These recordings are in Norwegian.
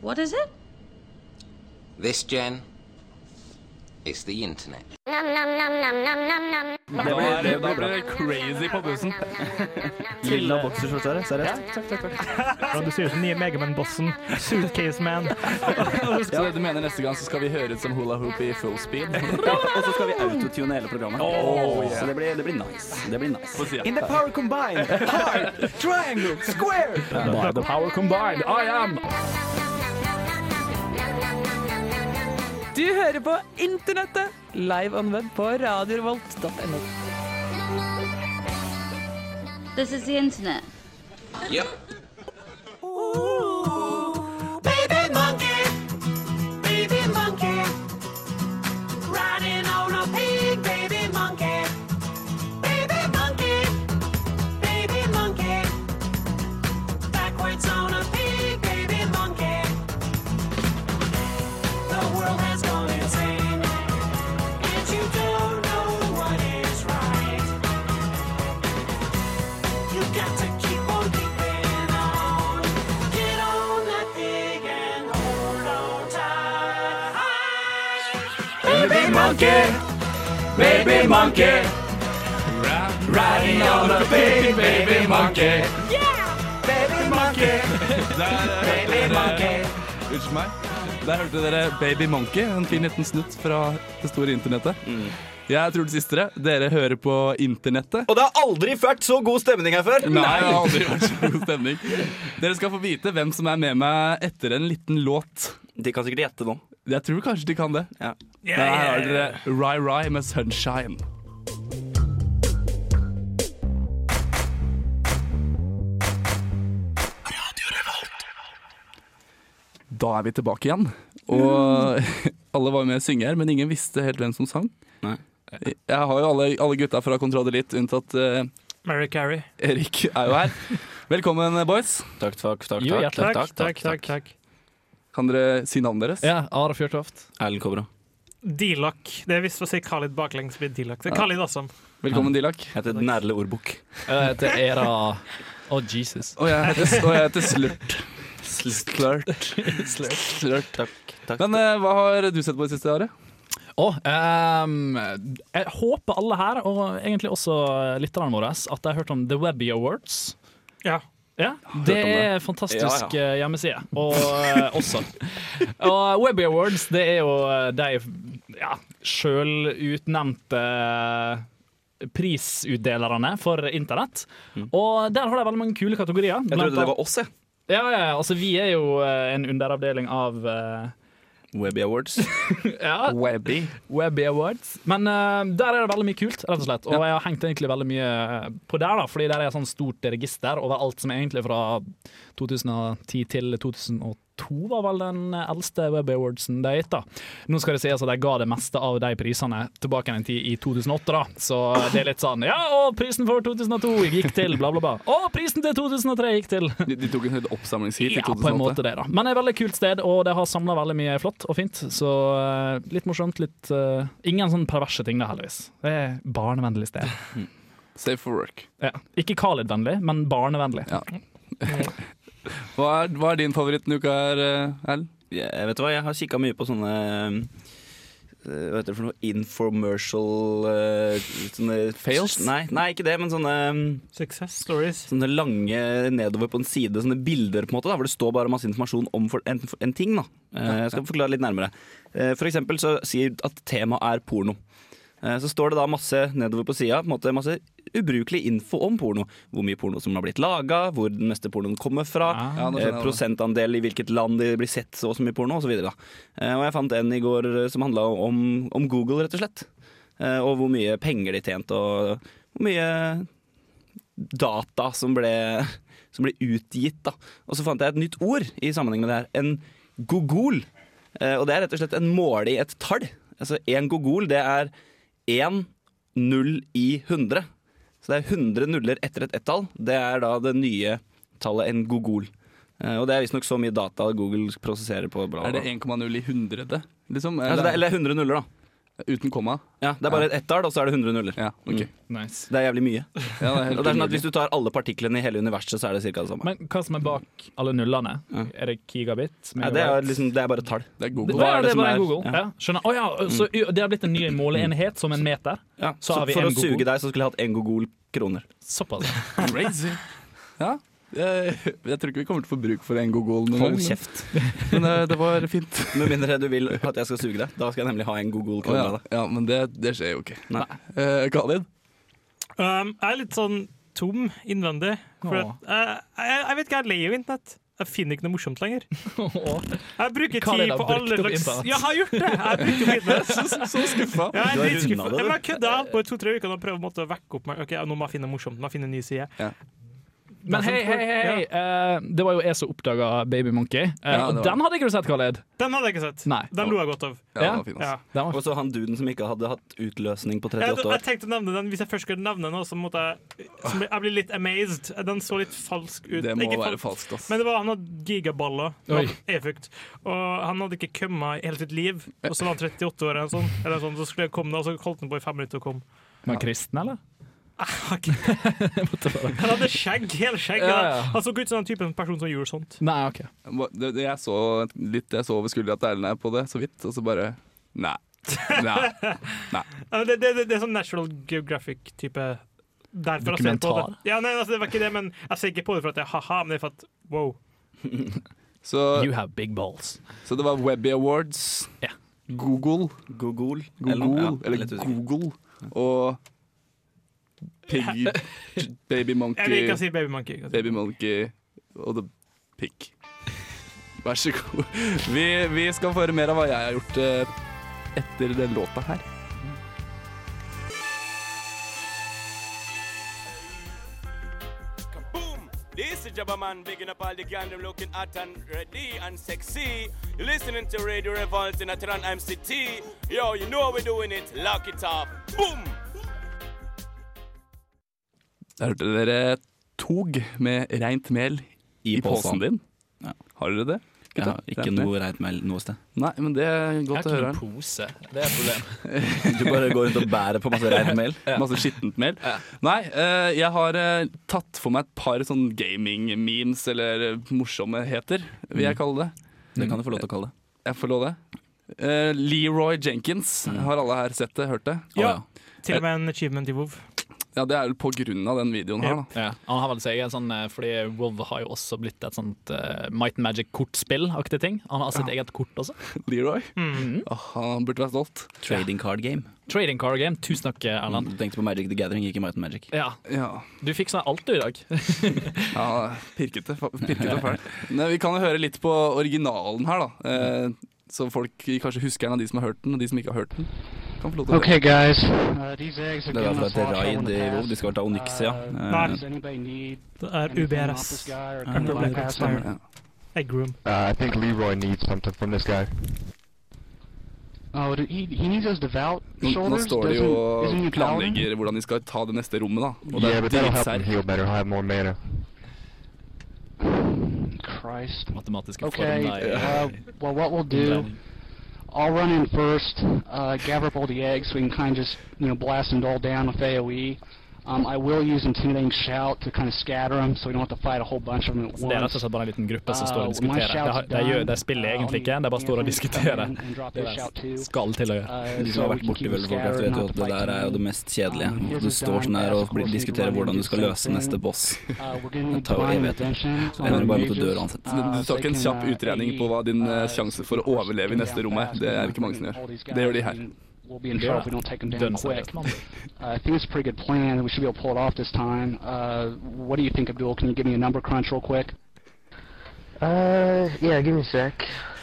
What is it? This, Jen, is the internet. Det ble, det, da ble det crazy på bussen. Lilla boksershorts her, seriøst? Du ser ut som den nye Megaman-bossen. Suitcase Man. Så du mener neste gang så skal vi høre ut som hula hoop i full speed? Og så skal vi autotune hele programmet. Så det blir, det blir nice. Det blir nice. In the power combined, heart, triangle, square. By the power combined, I am Uh, Du hører på Internettet, live on web på radiorevolt.no. This is the internet. Yep. Baby monkey, baby monkey. Riding on a big baby monkey. Yeah! Baby monkey, baby monkey. Unnskyld meg. Der hørte dere Baby Monkey, en fin liten snutt fra det store internettet. Jeg tror det siste dere. Dere hører på internettet. Og det har aldri vært så god stemning her før. Nei, det har aldri vært så god stemning. Dere skal få vite hvem som er med meg etter en liten låt. De kan sikkert gjette nå. Jeg tror kanskje de kan det. Ja. Der har dere Rai Rai med 'Sunshine'. Da er vi tilbake igjen. Og alle var jo med å synge her, men ingen visste helt hvem som sang. Nei. Jeg har jo alle, alle gutta fra Kontradilit, unntatt eh, Mary Carey. Erik er jo her. Velkommen, boys. Takk, takk, takk. Jo, hjertelig Takk, takk, takk. takk. Kan dere si navnet deres? Ja, Are Fjørtoft. Erlend Kobra. D-lock. Det er visst for å si Khalid baklengs blir D-lock. Det er Khalid også. Velkommen, Dilak. Jeg heter Nerle Ordbukk. Jeg heter Era Oh Jesus. Og jeg heter, og jeg heter Slurt. Slurt. Slurt. Takk, takk. Men eh, hva har du sett på det siste året? Og ehm, jeg håper alle her, og egentlig også lytterne våre, at de har hørt om The Webby Awards. Ja. Ja, hørt Det om det. er en fantastisk Ja, eh, hjemmeside. Og eh, også. Og eh, Webby Awards, det er jo eh, de ja, sjølutnevnte eh, prisutdelerne for internett. Og der har de veldig mange kule kategorier. Mm. Jeg trodde det var oss, jeg. Ja, ja, ja, altså vi er jo eh, en underavdeling av eh, Webby Awards. ja, Webby. Webby Awards. Men eh, der er det veldig mye kult, rett og slett. Og jeg har hengt egentlig veldig mye eh, på der, da, fordi der er et sånt stort register over alt som er egentlig fra 2010 til 2002 var vel den eldste Webby Awardsen de har gitt. da. Nå skal det sies at de ga det meste av de prisene tilbake igjen i en tid i 2008, da. Så det er litt sånn Ja, og prisen for 2002 gikk til, bla, bla, bla. Og prisen til 2003 gikk til. De, de tok en høyde oppsamlingsheat i Ja, 2008. på en måte det, da. Men det er et veldig kult sted, og det har samla veldig mye flott og fint. Så eh, litt morsomt, litt eh, Ingen sånn perverse ting, da, heldigvis. Det er barnevennlig sted. Safe for work. Ja. Ikke Khalid-vennlig, men barnevennlig. Ja. Hva er, hva er din favoritt denne uka her, eh, Erlend? Jeg vet du hva, jeg har kikka mye på sånne um, eh, Hva heter det for noe? Informercial eh, sånne, Fails? Nei, nei, ikke det, men sånne, eh, Success stories. sånne lange nedover på en side. Sånne bilder, på en måte, da, hvor det står bare masse informasjon om for, en, en ting. da Eh, Jeg skal forklare litt nærmere. Eh, For eksempel så sier at temaet er porno. Eh, Så står det da masse nedover på sida, på en måte masse ubrukelig info om porno. Hvor mye porno som har blitt laga, hvor den meste pornoen kommer fra. Ah. Ja, nå skjønner jeg Eh, det. prosentandel i hvilket land de blir sett så og så mye porno osv. Eh, og jeg fant en i går eh, som handla om, om Google, rett og slett. Eh, og hvor mye penger de tjente, og hvor mye data som ble, som ble utgitt. Da. Og så fant jeg et nytt ord i sammenheng med det her. En gogol. Eh, og det er rett og slett en måle i et tall. Altså en gogol, det er én null i 100. Så det er 100 nuller etter et ett-tall. Det er da det nye tallet en gogol. Eh, Og det er visstnok så mye data Google prosesserer på. Bla, Er bla. det 1,0 i hundrede? Liksom? Altså, det er, Eller, eller 100 nuller, da. Uten komma? Ja, det er bare et ettall, og så er det 100 nuller. Ja, ok. Nice. Det er jævlig mye. Ja, det er Og det er helt sånn at umulig. Hvis du tar alle partiklene i hele universet, så er det ca. det samme. Men hva som er bak alle nullene? Ja. Er det gigabit? Nei, det, er liksom, det er bare tall. Det er Det, Google. Hva ja, er det det er som bare er- en Google. ja. Mm. Ja. skjønner. Å ja, så y- det har blitt en ny måleenhet, som en meter. Ja. Så Så har vi for en å Google. suge deg, så skulle jeg hatt én Google kroner. Såpass. Crazy. Ja. Jeg, jeg tror ikke vi kommer til å få bruk for en Google noen Hold gang, men- kjeft. Men eh, det var fint. Med mindre du vil at jeg skal suge deg. Da skal jeg nemlig ha en Google Å, kroner ja. av deg. ja, men det, det skjer jo ikke. Nei. Eh, Khalid? Um, jeg er litt sånn tom innvendig. For at, Åh. eh, jeg, jeg vet ikke, jeg er lei av internett. Jeg finner ikke noe morsomt lenger. Jeg bruker Hva er det tid da, på brukt alle opp slags internett? Ja, jeg har gjort det! Jeg bruker internett. Så skuffa. Jeg Du er har dritskuffa. rundet Ja, det, men Jeg kødda Jeg har holdt på i to-tre uker og prøvd å måtte vekke opp meg. Ok, Nå må jeg finne noe morsomt. Nå må jeg finne en ny side. Men hei, sånn hei, hei! hei. Eh, det var jo jeg som oppdaga Baby Monkey. Eh, Ja, og det var den hadde ikke du sett, Khaled? Den hadde jeg ikke sett. Nei. Den lo jeg godt av. Ja, det var fint, Ja. altså. Den var Og så han duden som ikke hadde hatt utløsning på Jeg, 38 jeg år. tenkte å nevne den Hvis jeg først skulle nevne noe, så måtte jeg så ble- Jeg blir litt amazed. Den så litt falsk ut. Det må Ikke være falsk, falskt, ass. Men det var, han hadde gigaballer. Det Oi. var E-frukt. Og han hadde ikke kommet i hele sitt liv. Og så var han 38 år, eller sånn, eller sånn, så skulle jeg komme, da, og så holdt han på i fem minutter og kom. den kristen, eller? Fuck. Han hadde skjegg, hele skjegg. Ja, da. ja. Han så ikke ut som den typen person som gjorde sånt. Nei, OK. Uh, Det, det, jeg så litt jeg så over skuldra til Erlend her på det, så vidt, og så bare Nei. Nei. Ja, men Det, det, det, det er sånn National Geographic-type Derfor jeg ser på det. Dokumentar? Ja, nei, altså, det var ikke det, men jeg ser ikke på det for at det er ha-ha, men det er for at wow. Så, You have big balls. så det var Webby Awards, Ja. Google, Google. Google noe. Ja, eller, litt usikker. Google og Pig, Baby Jeg vil Monkey, ikke si Baby Monkey. altså. jeg kan si. Baby Monkey og The Pig. Vær så god. Vi, vi skal få høre mer av hva jeg har gjort eh, etter den låta her. Boom! This is Jabba Man, bigging up all the gandom looking hot and ready and sexy. You're listening to Radio Revolt in Atran MCT. Yo, you know how we're doing it. Lock it up. Boom! Der hørte dere Tog med reint mel i, posen din. Ja. Har dere det? Ja, gutta? ikke Rent mel? noe reit mel noe sted. Nei, men det er godt å høre. pose. Det er et problem. Du bare går rundt og bærer på masse reit mel. Masse skittent mel. Nei, eh, jeg har eh, tatt for meg et par sånn gaming-memes, eller eh, morsomheter, vil jeg kalle det. Det kan du få lov til å kalle det. Jeg får lov det. Eh, Leroy Jenkins, har alle her sett det, hørt det? Ja, Å, til og med en achievement i WoW. Ja, det er vel på grunn av den videoen her, da. Ja. Han har vel seg en sånn, eh, fordi WoW har jo også blitt et sånt eh, Might and Magic-kortspill-aktig ting. Han har sitt eget kort også. Leroy. Åh, han burde være stolt. Trading card game. Trading Card Game. Tusen takk, eh, Erland. Du tenkte på Magic the Gathering, ikke Might and Magic. Ja, Ja, du fikk sånn alt du i dag. ja pirkete. fa- Pirkete og fælt. Nei, Vi kan jo høre litt på originalen her, da. Eh, så folk kanskje husker den av de som har hørt den, og de som ikke har hørt den. Kan få lov til å Okay, guys. Uh, these eggs are Det var giving fra us et lots raid on i the WoW. De pass. skal vel ta Onyxia. Nei. Eh, Does anybody need Det er anything off UBRS. this guy or Ah. anything Problem like that? stemmer. Ja. Eggroom. Uh, I think Leroy needs something from this guy. Oh, do- he he needs his devout Nå, nå shoulders. står det jo Doesn't isn't he og paladin? planlegger hvordan de skal ta det neste rommet, da. Og det Yeah, er but that'll help him dritsær. heal better. He'll have more mana. Christ. Matematiske eh, Okay. formler. Uh, well, what we'll do, I'll run in first, uh, gather up all the eggs so we can kind of just, you know, blast them all down with AOE. Um, I will use intimidating shout to kind of scatter them so we don't have to fight a whole bunch of them at Så det er rett og once. slett bare en liten gruppe som Uh, står when og my diskuterer. De, shout's har- de, gjør, de done, spiller uh, egentlig ikke, I'll de bare står og need Anthony to diskuterer. come in and drop Det his er shout too. skal til å gjøre. Uh, De som har vært borti World of Warcraft, vet jo at det der er jo det mest kjedelige. Du står sånn her og blir- diskuterer hvordan du skal løse neste boss. Uh, Det tar jo evigheter. Så ender du bare med at du dør uansett. Du, Uh, du tar ikke en kjapp utregning på hva din eh, sjanse for å overleve i neste rom er. Det er ikke mange som gjør. Det gjør de her. Dønn seriøst, mann. Uh, I think it's a pretty good plan. We should be able to pull it off this time. Uh, what do you think, Abdul? Can you give me a number crunch real quick? Uh, yeah, give me a sec.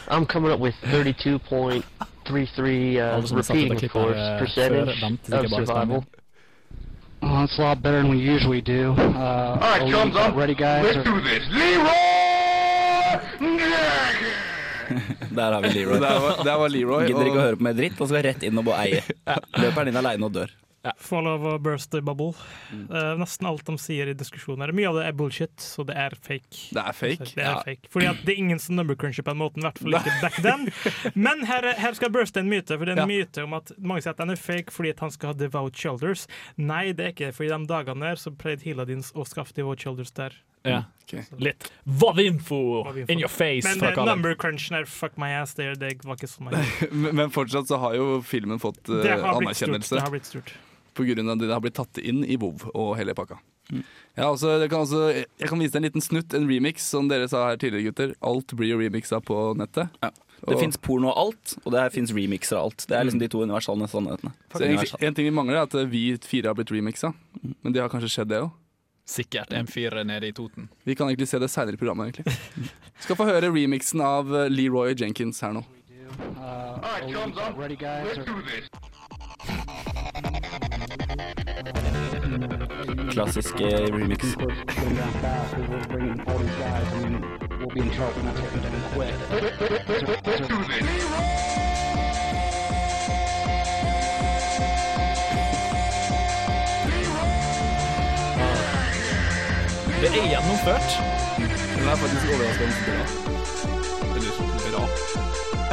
I'm coming up with 32.33, uh, Alle som satt i repeating, det of klippet her course, eh, før, percentage vant of sikkert bare survival. stemmen. Well, that's a lot better than we usually do. Uh, All right, chums up. Ready, guys? Or- this, Leroy! Der har vi Leroy. Der var, der var Leroy. Gidder ikke å Og høre på mer dritt, og så går jeg rett inn og bare eie. Løper han inn aleine og dør. Fall of a birthday bubble. Mm. Eh, nesten alt de sier i diskusjoner, mye av det er bullshit, så det er fake. Det er fake. Det er Ja. fake. Fordi at det er ingen som number cruncher på den måten, i hvert fall ikke back then. Men her, er- her skal burste en myte, for det er en myte om at mange sier at den er fake fordi at han skal ha devout shoulders. Nei, det er ikke det, for i de dagene der så pleide Hiladins å skaffe devout shoulders der. Ja. Litt vavinfo in your face. Men for å eh, kalle det. number crunchen her, fuck my ass, det, det var ikke sånn. jeg- Men men fortsatt så har jo filmen fått eh, Det har blitt stort. anerkjennelse. Det har blitt stort. På grunn av det det har blitt tatt inn i WoW og hele pakka. Ja, altså, jeg, kan også, jeg kan vise deg en liten snutt, en remix, som dere sa her tidligere, gutter. Alt blir jo remixa på nettet. Det fins porno av alt, og det fins remixer av alt. Det er liksom de to universale sannhetene. Så egentlig, en ting vi mangler, er at vi fire har blitt remixa. Men det har kanskje skjedd, det òg. Sikkert en fyr nede i Toten. Vi kan egentlig se det seinere i programmet, egentlig. Skal få høre remixen av eh, Leroy Jenkins her nå. Uh, are we about ready, guys? Let's do this. Klassisk eh, remix. We'll be in trouble when I take them down quick. Let's do this. Det er gjennomført. Den er faktisk sånn overraskende bra.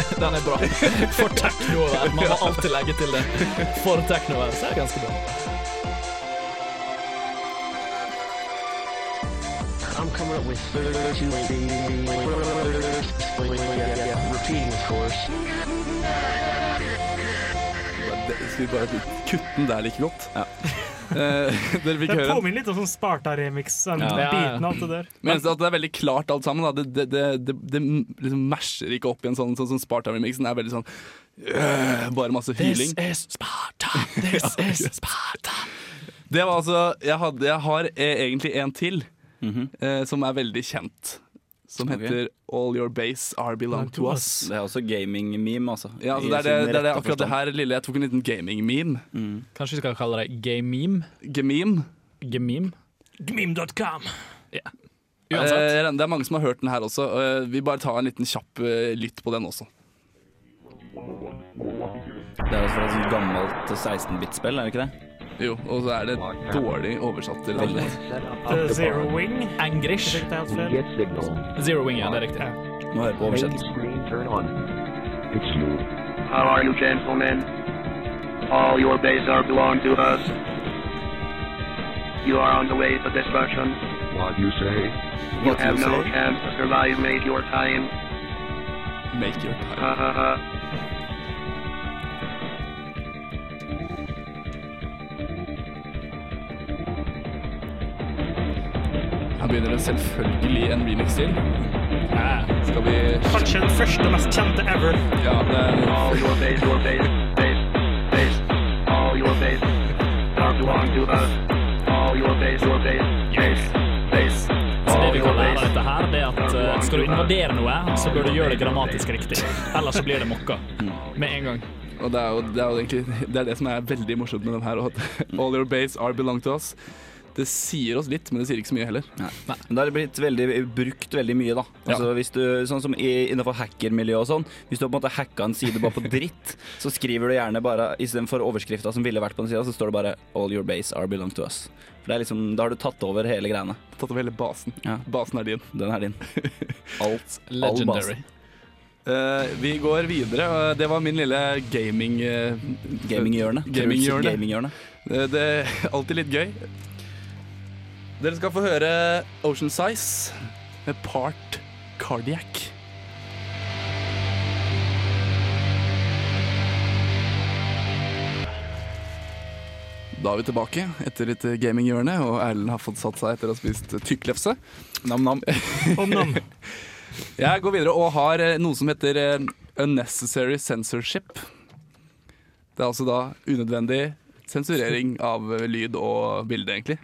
Den er bra. For teknoer. Man må alltid legge til det. For teknoer. Så er det ganske bra. I'm coming up with 13 repeating, of course. Skal vi bare kutte den der like godt? Ja. Eh, Dere fikk Det høre den. påminner litt om sånn Sparta-remix. Den Ja. Ja, ja. biten av alt det der. Men eneste at det er veldig klart alt sammen. Da. Det, det, det, det, det liksom masher ikke opp i en sånn, sånn, sånn Sparta-remixen. Det er veldig sånn øh, Bare masse hyling. This is Sparta. This is Sparta. Det var altså Jeg, hadde, jeg har eh, egentlig en til eh, som er veldig kjent. Som Mhm. Ok. heter All Your Base Are Belong To Us. Det er også gaming-meme, altså. Ja, altså, I det er, sin det, det er det, rette akkurat det forstand. Mm. her lille Jeg tok en liten gaming-meme. Kanskje vi skal kalle det game-meme? Gememe. Gememe? Gmim.com. Eh, Uansett. jeg regner- det er mange som har hørt den her også. Eh, vi bare tar en liten kjapp eh, lytt på den også. Det er også fra et sånt gammelt 16-bit-spill, er det ikke det? Jo, og så er det dårlig oversatt. til Veldig. The Zero Wing. Eh, English. Det er helt feil. Zero wing, ja. Det er riktig. Må høre på oversettelsen. How are you, gentlemen? All your bases are belong to us. You are on the way to destruction. What you say? You have no chance to survive. Make your time. Make your time. Ha ha ha. Her begynner det selvfølgelig en remix til. Skal vi Kanskje den første og mest kjente ever. Ja, det All your base, your base, base, base. All your base are belong to us. All your base, your base, base, base. Så det All vi your kan lære av base. dette her, det er at eh, skal du invadere noe, så bør du gjøre det grammatisk riktig. Ellers så blir det mokka. Med en gang. Og det er jo, det er jo egentlig det, er det som er veldig morsomt med den her. og at All your base are belong to us. Det sier oss litt, men det sier ikke så mye heller. Men det har blitt veldig, brukt veldig mye, da. Altså, hvis du, sånn som i, innenfor hackermiljøet og sånn. Hvis du har på en måte hacka en side bare på dritt, så skriver du gjerne bare istedenfor overskrifta som ville vært på den sida, så står det bare 'All your base are belong to us'. For det er liksom, Da har du tatt over hele greiene. Tatt over hele basen. Basen er din. Den er din. Alt. all Legendary. basen. Eh, vi går videre. og Det var min lille gaming... eh, Gaminghjørne. gaminghjørne. Tror du gaminghjørne? Eh, det er alltid litt gøy. Dere skal få høre Ocean Size med Part Cardiac. Da er vi tilbake etter litt gaminghjørne, og Erlend har fått satt seg etter å ha spist tykklefse. Nam-nam. Jeg går videre og har eh, noe som heter eh, unnecessary censorship. Det er altså da unødvendig sensurering av eh, lyd og bilde, egentlig.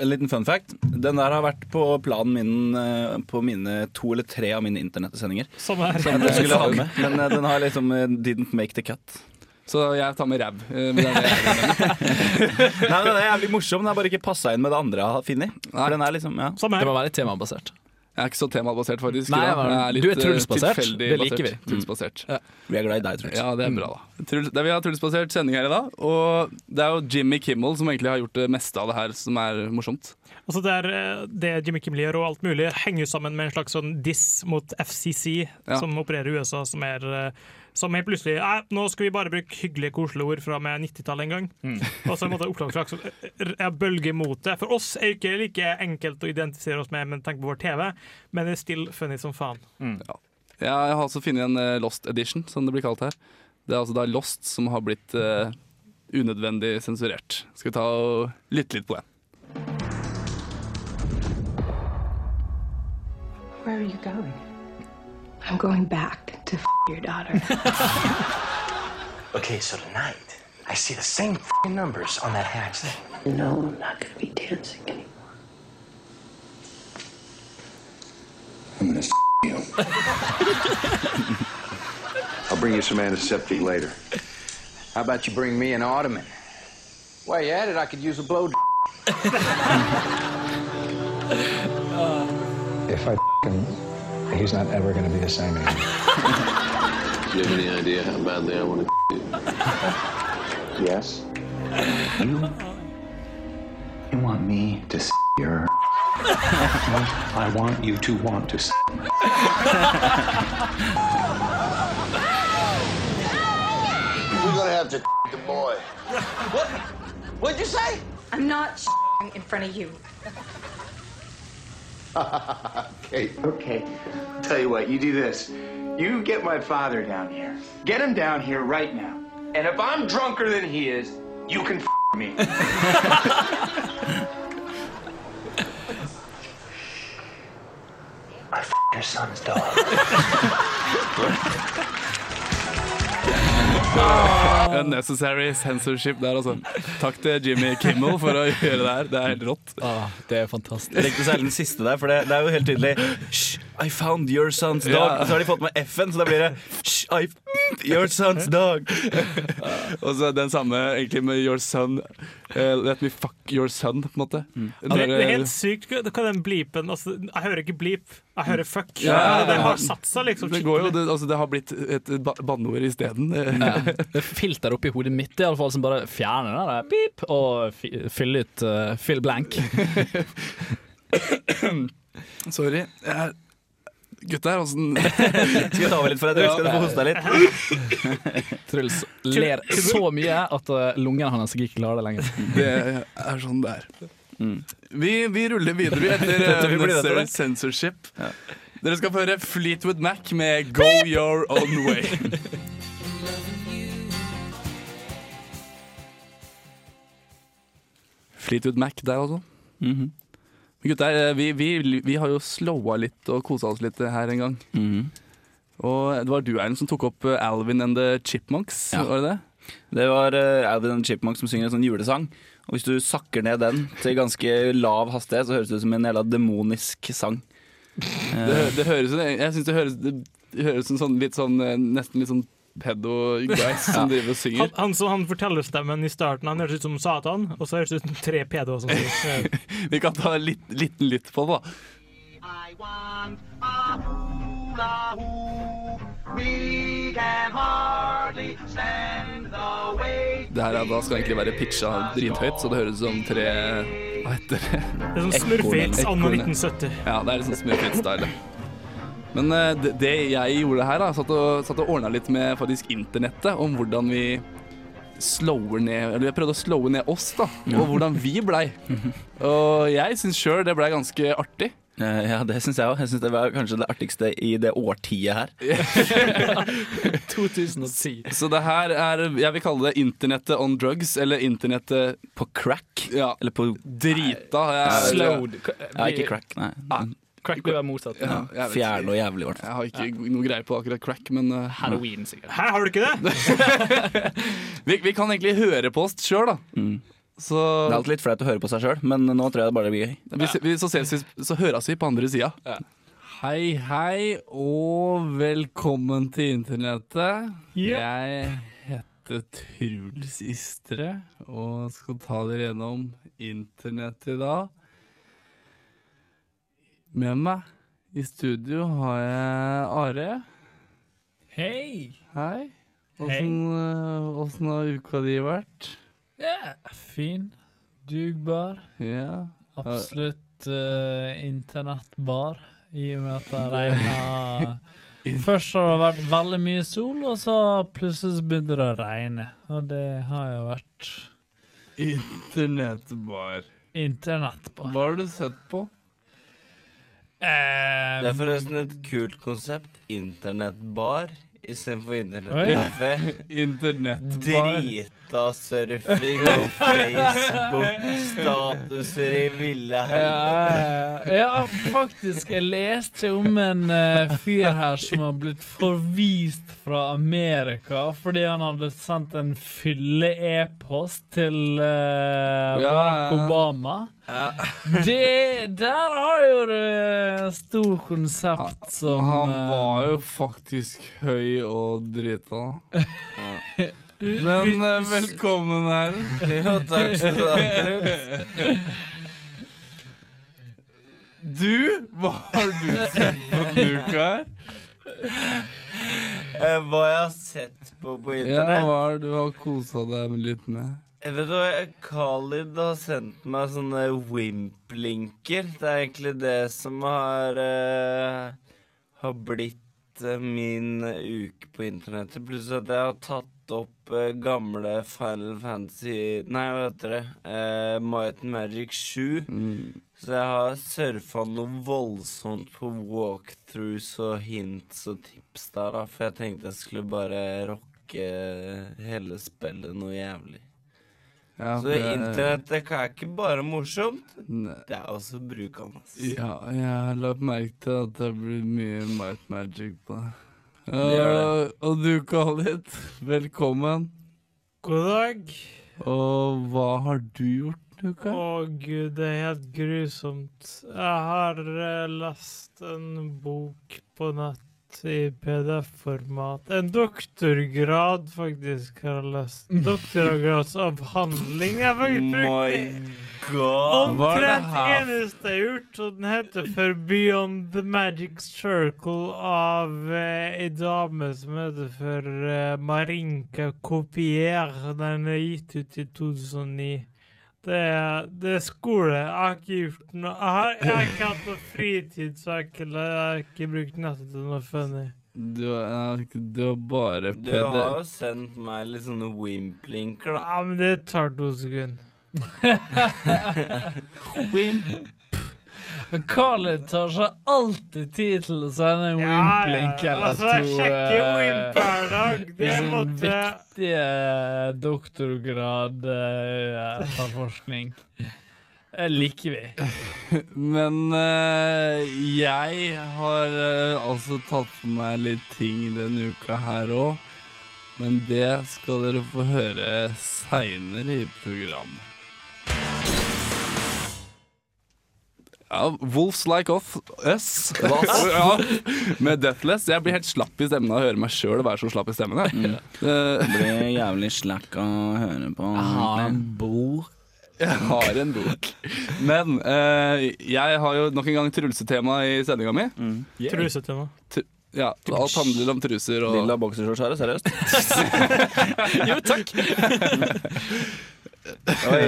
En liten fun fact. Den der har vært på planen min eh, på mine to eller tre av mine internettsendinger. Som er- jeg skulle ha med. Men eh, den har liksom eh, didn't make the cut. Så jeg tar med ræv. eh, men det er det jeg- Nei, men Den er jævlig morsom, den har bare ikke passa inn med det andre jeg har funnet. For den er liksom, ja. Det må være litt temabasert. Jeg er ikke så temabasert, faktisk. Nei, da. men Jeg eh, du er Truls-basert. Det liker vi. Mm. Trulsbasert. Vi er glad i deg, Truls. Ja, det er bra, da. Truls, det, vi har Truls-basert sending her i dag, og det er jo Jimmy Kimmel som egentlig har gjort det meste av det her som er morsomt. Altså der, eh, det Jimmy Kimmel gjør og alt mulig, henger jo sammen med en slags sånn diss mot FCC, Ja. som opererer i USA, som er eh, som helt plutselig Nei, nå skal vi bare bruke hyggelige, koselige ord fra og med 90-tallet en gang. Mm. Og så måtte jeg oppklare slags eh, eh, bølge mot det. For oss er jo ikke like enkelt å identifisere oss med, men tenk på vår TV. Men det er still funny som faen. Ja. Jeg har også funnet en eh, Lost Edition, som det blir kalt her. Det er altså da Lost som har blitt eh, unødvendig sensurert. Skal vi ta og lytte litt på den? Where are you going? I'm going back to f- your daughter. Okay, so tonight I see the same f***ing numbers on that hatch thing. no, I'm not going to be dancing anymore. I'm gonna s you. I'll bring you some antiseptic later. How about you bring me an ottoman? While you're at it, I could use a blow. If I him, he's not ever going to be the same anymore. You have any idea how badly I want to you? Yes. You, you want me to s your? I want you to want to s. We're gonna have to the boy. What? What'd you say? I'm not in front of you. okay, okay. Tell you what, you do this. You get my father down here. Get him down here right now. And if I'm drunker than he is, you can f me. I f- your son's dog. Unnecessary censorship der, altså. Takk til Jimmy Kimmel for å gjøre det her. Det er helt rått. det er fantastisk. Jeg likte særlig den siste der, for det, det er jo helt tydelig Shh, I found your son's dog. Ja. Og Så har de fått med F-en, så da blir det Shh, I found your son's dog. Og så den samme egentlig med Your Son. eh, let me fuck your son, på en måte. Mm. eh, Det, det er helt sykt hva hva den bleepen altså, Jeg hører ikke bleep, jeg hører fuck. Ja, ja, ja. Det har satt seg liksom det, går jo, det, altså, det har blitt et ba- banneord isteden. Ja. Det filter oppi hodet mitt i alle fall, som bare fjerner det der, pip, og fi- fyller ut uh, fill blank. Sorry. Jeg... Gutter, åssen Skal vi ta over litt for deg, Truls? Skal du få hoste deg litt? Truls ler så mye at uh, lungene hans ikke klarer det lenger. Det er sånn det er. Vi, vi ruller videre vi, etter Dette eh, blir dette, Unnecessary det. Censorship. Dere skal få høre Fleetwood Mac med Go Your Own Way. Fleetwood Mac der, altså. Men Gutter, eh, vi, vi, vi har jo slowa litt og kosa oss litt her en gang. Og det var du, Erlend, som tok opp eh, Alvin and the Chipmunks, var det det? Det var eh, Alvin and the Chipmunk som synger en sånn julesang. Og hvis du sakker ned den til ganske Eh, lav hastighet, så høres det ut som en jævla demonisk sang. Det, hø- det høres, jeg synes det høres, det høres som sånn, litt sånn, eh, nesten litt sånn pedo guys som driver og Han, synger. han, så han fortellerstemmen i starten Han høres ut som Satan, og så høres det ut som tre pedo. Sånn. Vi kan ta en litt, liten lytt på det, da. We can hardly stand the weight. Det her er, da skal egentlig være pitcha drithøyt, så det høres ut som tre Hva heter det? Det er sånn Smurfhets anno 1970. Ja, det er litt sånn Smurfits-style. Men eh, det, det jeg gjorde her, da, satt og, satt og ordna litt med faktisk internettet om hvordan vi slower ned Eller jeg prøvde å slowe ned oss, da, og hvordan vi blei. Og jeg syns sjøl det blei ganske artig. Eh, Ja, det syns jeg òg. Jeg synes det var kanskje det artigste i det årtiet her. 2010. Så det her er Jeg vil kalle det internettet on drugs, eller internettet På crack? Ja. Eller på Drita. jeg- Slowed. Ja, ikke crack, nei. eh, Crack blir motsatt. Ja, jeg vet Fjern og ikke. jævlig, i hvert fall. Jeg har ikke noe greie på akkurat crack, men eh, Heroin, sikkert. Her har du ikke det! vi, vi kan egentlig høre på oss sjøl, da. Så, Mm. Det er alltid litt flaut å høre på seg sjøl, men nå tror jeg det bare blir gøy. vi, vi, så ses vi, så høres vi på andre sida. Hei, hei, og velkommen til internettet. Jeg heter Truls Istre og skal ta dere gjennom internettet i dag. Med meg I studio har jeg Are. Hei! Hei. Åssen eh, åssen har uka di vært? Ja, fin. Dugbar. Ja. Absolutt eh, internettbar, i og med at det regna Først har det vært veldig mye sol, og så plutselig så begynte det å regne. Og det har jo vært Internettbar. Internettbar. Hva har du sett på? Det Eh, er forresten et kult konsept. Internettbar istedenfor internettkafé. Oi. Internettbar. Drita surfing og Facebook-statuser i ville helvete. Ja, eh, ja, faktisk. Jeg leste om en eh, fyr her som har blitt forvist fra Amerika fordi han hadde sendt en fylle-e-post til eh, Ja, Barack ja, ja. Obama. Det, der har jo du eh, stor konsept som Han eh, var jo faktisk høy og drita. Men eh, velkommen her. Jo, takk skal du Eh, ha. Du? Hva har du sett på denne uka her? Eh, Hva jeg har sett på på Ja, internett hva er det du har kosa deg litt med? Jeg vet du hva, Khalid har sendt meg sånne wimp-linker. Det er egentlig det som har eh, Har blitt eh, min uke på internettet. Pluss at jeg har tatt opp eh, gamle Final Fantasy Nei, hva heter det? Eh, Might and Magic 7. Så jeg har surfa noe voldsomt på walkthroughs og hints og tips der, da. For jeg tenkte jeg skulle bare rocke eh, hele spillet noe jævlig. Ja, så det- internettet er ikke bare morsomt, Nei. det er også brukende. Ja, jeg har lagt merke til at det blir mye Might Magic på deg. Det gjør Eh, og du, Khalid, velkommen. God dag. Og hva har du gjort? Å gud, det er helt grusomt. Jeg har eh, lest en bok på nett i PDF-format. En doktorgrad, faktisk, har jeg lest. Doktorgradsavhandling. Jeg har faktisk brukt det. God. Hva er det Omtrent her? eneste jeg har gjort, og den heter For Beyond the Magic Circle av eh, ei dame som heter for eh, Marinka Copier. Den er gitt ut i 2009. Det er, det er skole. Jeg har ikke gjort noe Jeg har jeg har ikke hatt noe fritid, så jeg har ikke, jeg har ikke brukt nettet til noe funny. Du har, du har bare Du har jo PD. sendt meg litt sånne wimp-linker, da. Ja, men det tar to sekunder. Wimp. Men Khaled tar seg alltid tid til å sende en wimp-link ja. eller eh, Altså, jeg eh, sjekker jo wimp hver dag. Det Det er måtte- viktige eh, doktorgrad-forskning. Det eh, liker vi. Men eh, jeg har eh, altså tatt på meg litt ting denne uka her òg. Men det skal dere få høre seinere i programmet. Ja, Wolves Like Off Us. Kvass. ja, med Deathless. Jeg blir helt slapp i stemmen av å høre meg sjøl være så slapp i stemmen. Eh, Jeg. Det blir jævlig slack å høre på. Jeg har en bok. Jeg har en bok. Men eh, jeg har jo nok en gang trusetema i sendinga mi. Yeah. Trusetema. Tr ja, alt handler om truser og Lilla boksershorts her, seriøst? jo, takk. Oi.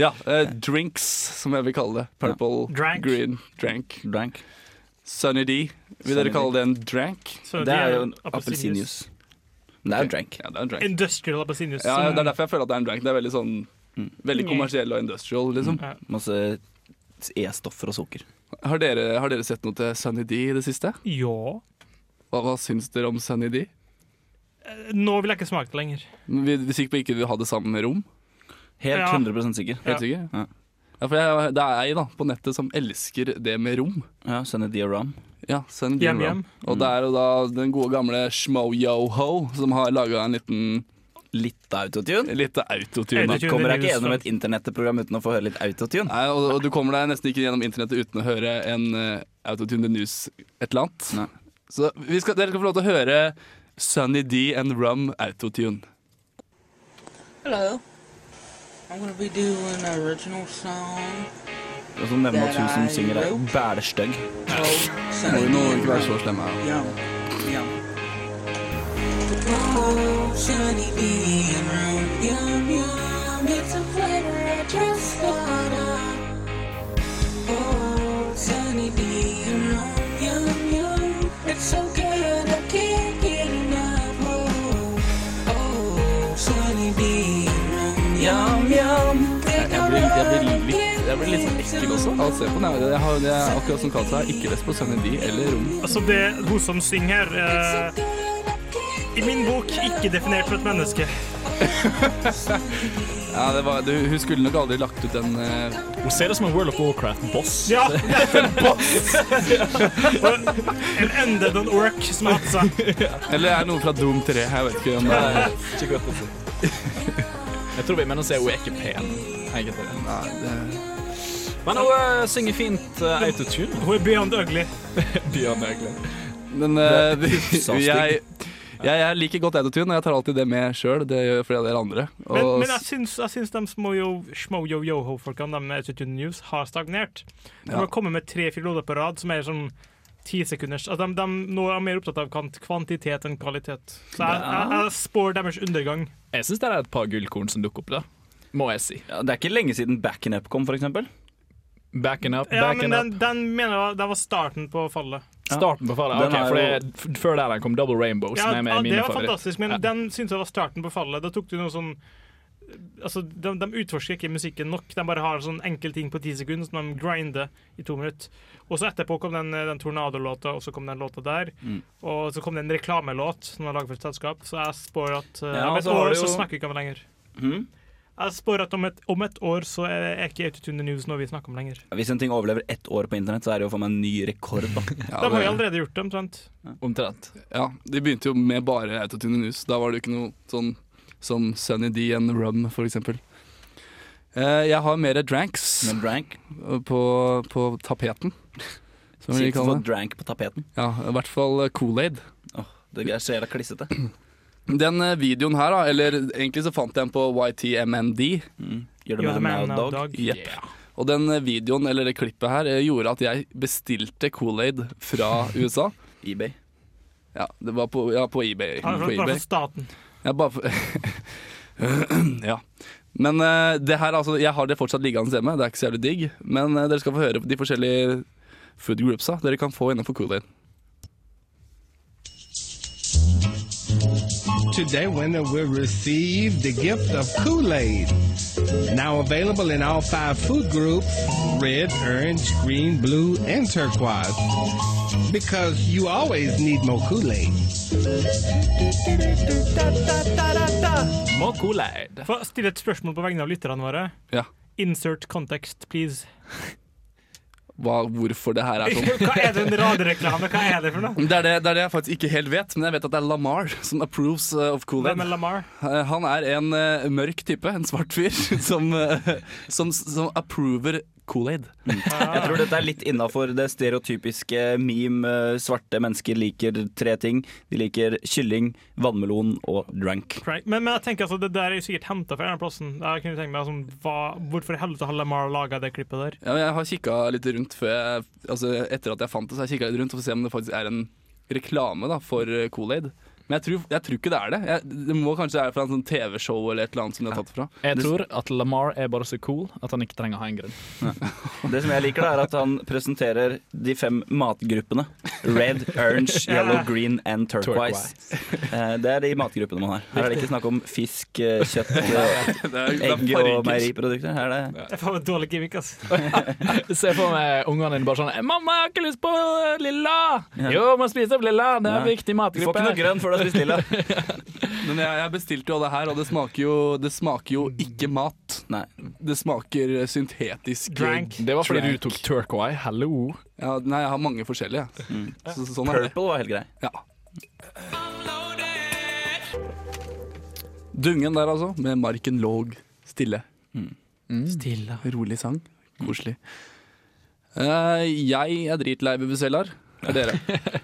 ja, eh, drinks, som jeg vil kalle det. Purple, Drank. green, drank. Sunny D. Vil Sunny D. dere kalle det en drank? Sunny D Det er er jo en appelsinjuice. Det er jo drank. Ja, det er en drank. Industrial appelsinjuice. Ja, det er derfor jeg føler at det er en drank. Det er veldig sånn Veldig kommersiell og industrial, liksom. Masse E-stoffer og sukker. Har dere, har dere sett noe til Sunny D i det siste? Ja. Hva, hva syns dere om Sunny D? Nå vil jeg ikke smake det lenger. Vi vi er sikre på ikke vi har det samme rom? Helt Ja. 100% sikker. Helt Ja. sikker? Ja. for jeg, det er jeg da, på nettet som elsker det med rom. Ja, Sunny D og Ram. Ja, Sunny D Hjem, og Ram. hjem. Og det er jo da den gode gamle Shmo-Yo-Ho som har laga en liten Litt autotune? Litt autotune. Man kommer deg ikke gjennom et internetteprogram uten å få høre litt autotune. Nei, og, og du kommer deg nesten ikke gjennom internettet uten å høre en eh, Autotune The News et eller annet. Så vi skal, dere skal få lov til å høre Sunny D and Rum Autotune. Hello. I'm gonna be doing an original song Og så nevner at hun som synger er bælestygg. Må jo nå ikke være så slemme. Oh, shiny bean room, yum yum, it's a flavor I just thought of. Oh, shiny bean room, yum yum, it's so good I can't get enough. Oh, oh, shiny bean room, yum yum, Jeg jeg blir, jeg blir litt, jeg blir litt sånn ekkel også av å se på den. Jeg, jeg har, det er akkurat som Kata, ikke lest på Sunny D eller Rom. Altså, det hun som synger her eh, I min bok ikke definert for et menneske. Ja, det var, du, hun skulle nok aldri lagt ut den eh, Hun ser ut som en World of Warcraft-boss. Ja! en undead on orc som har hatt seg. Eller er det noe fra Doom 3? Jeg vet ikke om det er Jeg tror vi mener å si hun er ikke pen, egentlig. Nei, det... Men hun eh, synger fint eh, autotune. Hun er beyond ugly. beyond ugly. Men eh, vi, jeg, jeg, jeg liker godt autotune, og jeg tar alltid det med sjøl. Det gjør flere av dere andre. Og, Men, men jeg syns, jeg syns de smoyo-yo-ho-folkene de med Autotune News har stagnert. De Ja. har kommet med tre-fire låter på rad som er sånn ti sekunders at de, de nå er mer opptatt av kvant- kvantitet enn kvalitet. Så jeg, jeg, jeg spår deres undergang. Jeg syns det er et par gullkorn som dukker opp, da. Må jeg si. Ja, det er ikke lenge siden Backen Up kom, for eksempel. Backen up, Ja, backen men up. den, den mener jeg var- det var starten på fallet. Starten på fallet. Den ok, er for jo- det, f- Før der den kom Double Rainbow, Ja, som er ja, mine det var favoritter. fantastisk, men den syns jeg var starten på fallet. Da tok du noe sånn Altså, de, de utforsker ikke musikken nok. De bare har sånn enkel ting på ti sekunder som de grinder i to minutter. Og så etterpå kom den, den Tornado-låta, og så kom den låta der. Mm. Og så kom det en reklamelåt som var laget for et selskap, så jeg spår at eh, Ja, om et så har år det jo- så snakker vi ikke om det lenger. Mhm. Jeg spår at om et, om et år så er er ikke Autotune the News noe vi snakker om lenger. Hvis en ting overlever ett år på internett, så er det jo for meg en ny rekord. Da. De har jo allerede gjort det, omtrent. Omtrent. Ja, de begynte jo med bare autotune news. Da var det jo ikke noe sånn som Sunny D and Rum, for eksempel. Eh, jeg har mer dranks Men drank? på, på tapeten. Som de Sitter for kaller det. drank på tapeten. Ja, i hvert fall Kool-Aid. Det er så jævla klissete. Den eh, videoen her, da, eller egentlig så fant jeg den på YTMND. You're the You're the man man now, now, dog. dog. Jepp. Og den eh, videoen, eller det klippet her, eh, gjorde at jeg bestilte Kool-Aid fra USA. eBay. Ja, det var på, ja, på eBay. Ja, på det var eBay. for staten. Jeg bare for... ja. Men eh, det her, altså, jeg har det fortsatt liggende hjemme. Det er ikke så jævlig digg. Men eh, dere skal få høre de forskjellige food groupsa dere kan få innenfor Kool-Aid. Today winner will receive the gift of Kool-Aid. Now available in all five food groups, red, orange, green, blue, and turquoise. Because you always need more Kool-Aid. Må Kool-Aid. Få stille et spørsmål på vegne av lytterne våre. Ja. Insert context, please. Hva, hvorfor det her er sånn. Hva er det en radioreklame? Hva er det for noe? Det er det, det er det jeg faktisk ikke helt vet, men jeg vet at det er Lamar som approves eh, of Kool-Aid. Hvem er Lamar? Eh, Han er en eh, mørk type, en svart fyr, som, eh, som, som approver Kool-Aid. Jeg tror dette er litt innafor det stereotypiske meme. eh, Svarte mennesker liker tre ting. De liker kylling, vannmelon og drank. Right. Men, men jeg tenker altså, det der er jo sikkert henta fra en eller annen plassen. Jeg kunne tenke meg altså, hva, Hvorfor i helvete har Lamar laga det klippet der? Ja, men jeg har kikka litt rundt før jeg, altså etter at jeg fant det, så har jeg kikket litt rundt for å se om det faktisk er en reklame da, for eh, Kool-Aid. Men jeg tror, jeg tror ikke det er det. Jeg, det må kanskje være fra en sånn TV-show eller et eller annet som de har tatt fra. Jeg tror at Lamar er bare så cool at han ikke trenger å ha en grunn. Det som jeg liker, da, er at han presenterer de fem matgruppene. Red, orange, yellow, green and turquoise. Eh, Det er de matgruppene man har. Her er det ikke snakk om fisk, eh, kjøtt, det eh, er egg farger. og meieriprodukter. Her er det Det er faen meg dårlig gimmick, ass. Se for meg ungene dine bare sånn 'Mamma, jeg har ikke lyst på eh, lilla!' Ja. Jo, må spise opp lilla. Det er en Ja. viktig matgruppe. Men jeg, jeg bestilte jo det her, og det smaker jo, det smaker jo ikke mat. Det smaker eh, syntetisk Drank. Det var fordi du tok turquoise. Hello. Ja, nei, jeg har mange forskjellige. jeg. Mm. Så, så, sånn er det. Purple var helt grei. Ja. Dungen der, altså, med marken låg stille. Stille. Rolig sang. Koselig. Eh, jeg er dritlei Bubuzellaer. Og dere?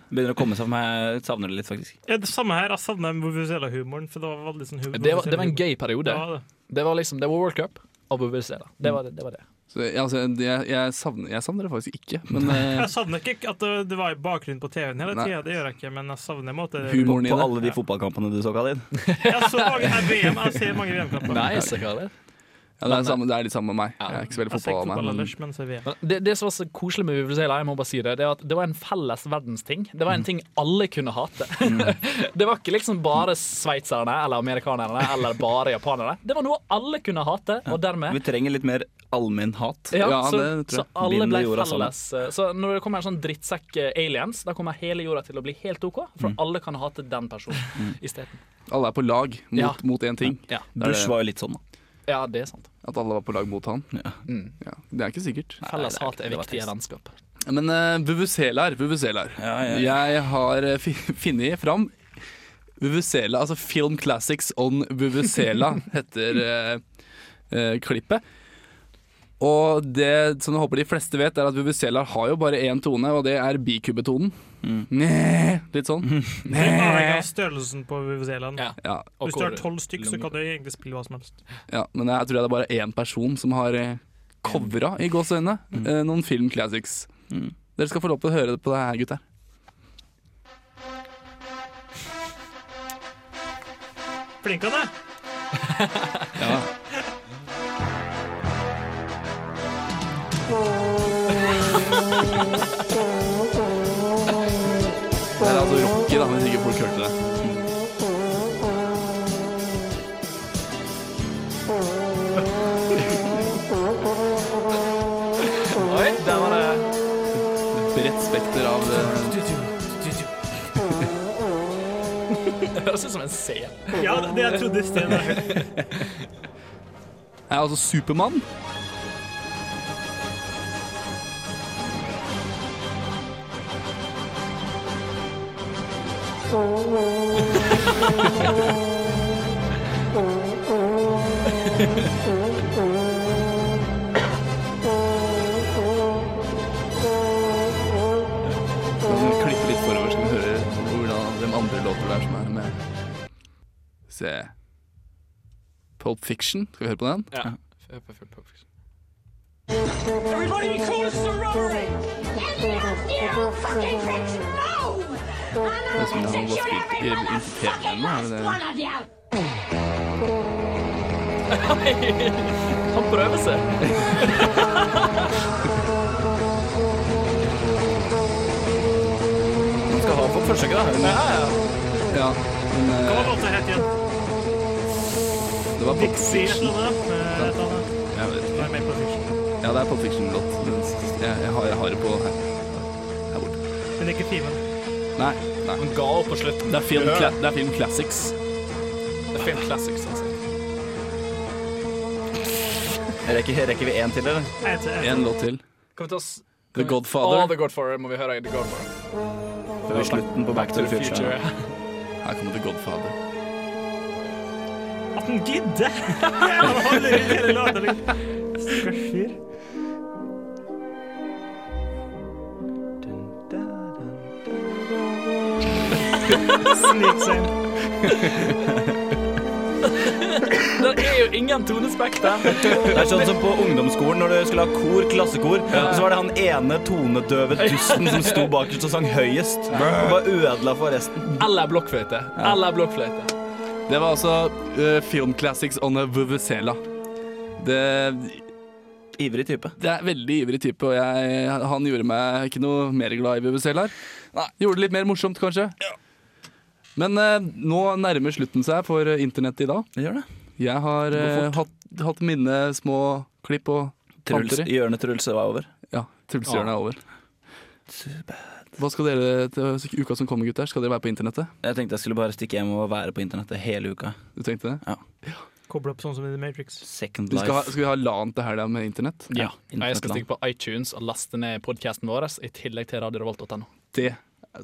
Begynner å komme seg for meg. Jeg Savner det litt, faktisk. Ja, det samme her. Jeg savner Vuvuzela-humoren. For det var veldig sånn hu- Det var, det var en gøy periode. Ja, det. Det var liksom, det var World Cup og Bubusela. Det var det. det, var det. Så jeg, altså, jeg, jeg, savner, jeg savner det faktisk ikke, men eh, Jeg savner ikke at det- det var i bakgrunnen på TV-en hele Nei. tida, det gjør jeg ikke, men jeg savner måte Humoren i det. På alle de fotballkampene du så, Khalid. Jeg så mange her VM, jeg ser mange VM-kamper. Ja, det, er samme, det er litt samme med meg. Jeg er ikke så veldig Jeg ser ikke fotball av fotball meg. ellers, men ser VM. Det, det som var så koselig med Vuvuzela, jeg må bare si det, det er at det var en felles verdensting. Det var en ting alle kunne hate. det var ikke liksom bare sveitserne eller amerikanerne eller bare japanere. Det var noe alle kunne hate, og dermed Vi trenger litt mer allmenn hat. ja, så, så alle ble Binder jorda sammen. felles. Så når det kommer en sånn drittsekk eh, aliens, da kommer hele jorda til å bli helt OK, for alle kan hate den personen isteden. Alle er på lag mot, Ja. mot én ting. Ja. Det er Bush det- var jo litt sånn, da. Ja, det er sant. At alle var på lag mot han. Mm. Ja, det er ikke sikkert. Felles hat er viktig i vennskap. Men uh, vuvuzelaer, vuvuzelaer. Jeg har eh, fi- funnet fram Vuvuzela, altså Film Classics on Vuvuzela heter eh, eh, klippet. Og det som jeg håper de fleste vet, er at vuvuzelaer har jo bare én tone, og det er bikubetonen. Næh, litt sånn. Det er bare Næh. av størrelsen på Vuvuzelaen. Ja. Hvis du har tolv stykk, så kan du egentlig spille hva som helst. Ja, men jeg tror det er bare én person som har eh, covra, i gåseøynene, eh, noen film classics. Dere skal få lov til å høre på det her, gutter. Flink han er! Ja. Det er altså Rocky, da, hvis ikke folk hørte det. Oi, der var det Bredt spekter av eh, Det høres ut som en C. Ja, det jeg trodde i sted. Jeg er altså Supermann. Sånn, klippe litt forover, så du hører hvordan de andre låter der som er med. Se Pulp Fiction. Skal vi høre på den? Ja. Everybody be cool as sorority! You fucking pricks! No! Det er som om han var spilt i infiltrert henne, er det det? One of you! Han prøver seg. Man skal ha på forsøket, da. Men, ja, ja. men, Hva var eh, låta het igjen? det var Pulp Dixie et Fiction. eller annet? eh, et eller annet. Jeg vet Det er med på Fiction. Ja, det er Pulp Fiction-låt. men Jeg, jeg, har- jeg har det på her. Her borte. Men ikke timen. Nei. nei. Han ga opp på slutten. Det er film, cla det er film classics. Det er film classics, altså. Rekker, rekker vi én til, eller? Jeg tror- En låt til. Kan vi ta oss Mm. The Godfather. Å, The Godfather må vi høre. The Godfather. Det var slutten på Back to the Future. Her kommer The Godfather. At han gidder! Han holder ut hele låta. liksom. Stakkars fyr. Snik seg inn. Det er jo ingen tonespekter. Det er sånn som på ungdomsskolen når du skulle ha kor, klassekor, så var det han ene tonedøve dusten som sto bakerst og sang høyest. Og bare ødela for resten. Eller blokkfløyte. Eller blokkfløyte. Det var altså eh, Film Classics on a Vuvuzela. Det Ivrig type. Det er veldig ivrig type, og jeg, han gjorde meg ikke noe mer glad i vuvuzelaer. Gjorde det litt mer morsomt, kanskje. Men eh, nå nærmer slutten seg for eh, internettet i dag. Det gjør det. Jeg har Det går eh, hatt, hatt mine små klipp og Truls, panter i. hjørnet Truls var over. Ja, Trulsehjørnet er over. Hva skal dere til uka som kommer, gutter? Skal dere være på internettet? Jeg tenkte jeg skulle bare stikke hjem og være på internettet hele uka. Du tenkte det? Koble opp sånn som i The Matrix. Second Vi skal, ha, life. skal vi ha LAN til helga med internett? Ja. Jeg skal stikke på iTunes og laste ned podkasten vår i tillegg til radiorevolt.no. Det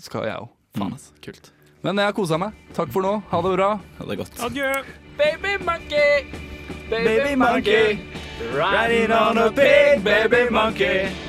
skal jeg òg. Mm. Faen, altså. Kult. Men jeg har kosa meg. Takk for nå. Ha det bra. Ha det godt. Adjø. Baby monkey! Baby monkey, Riding on a big baby monkey.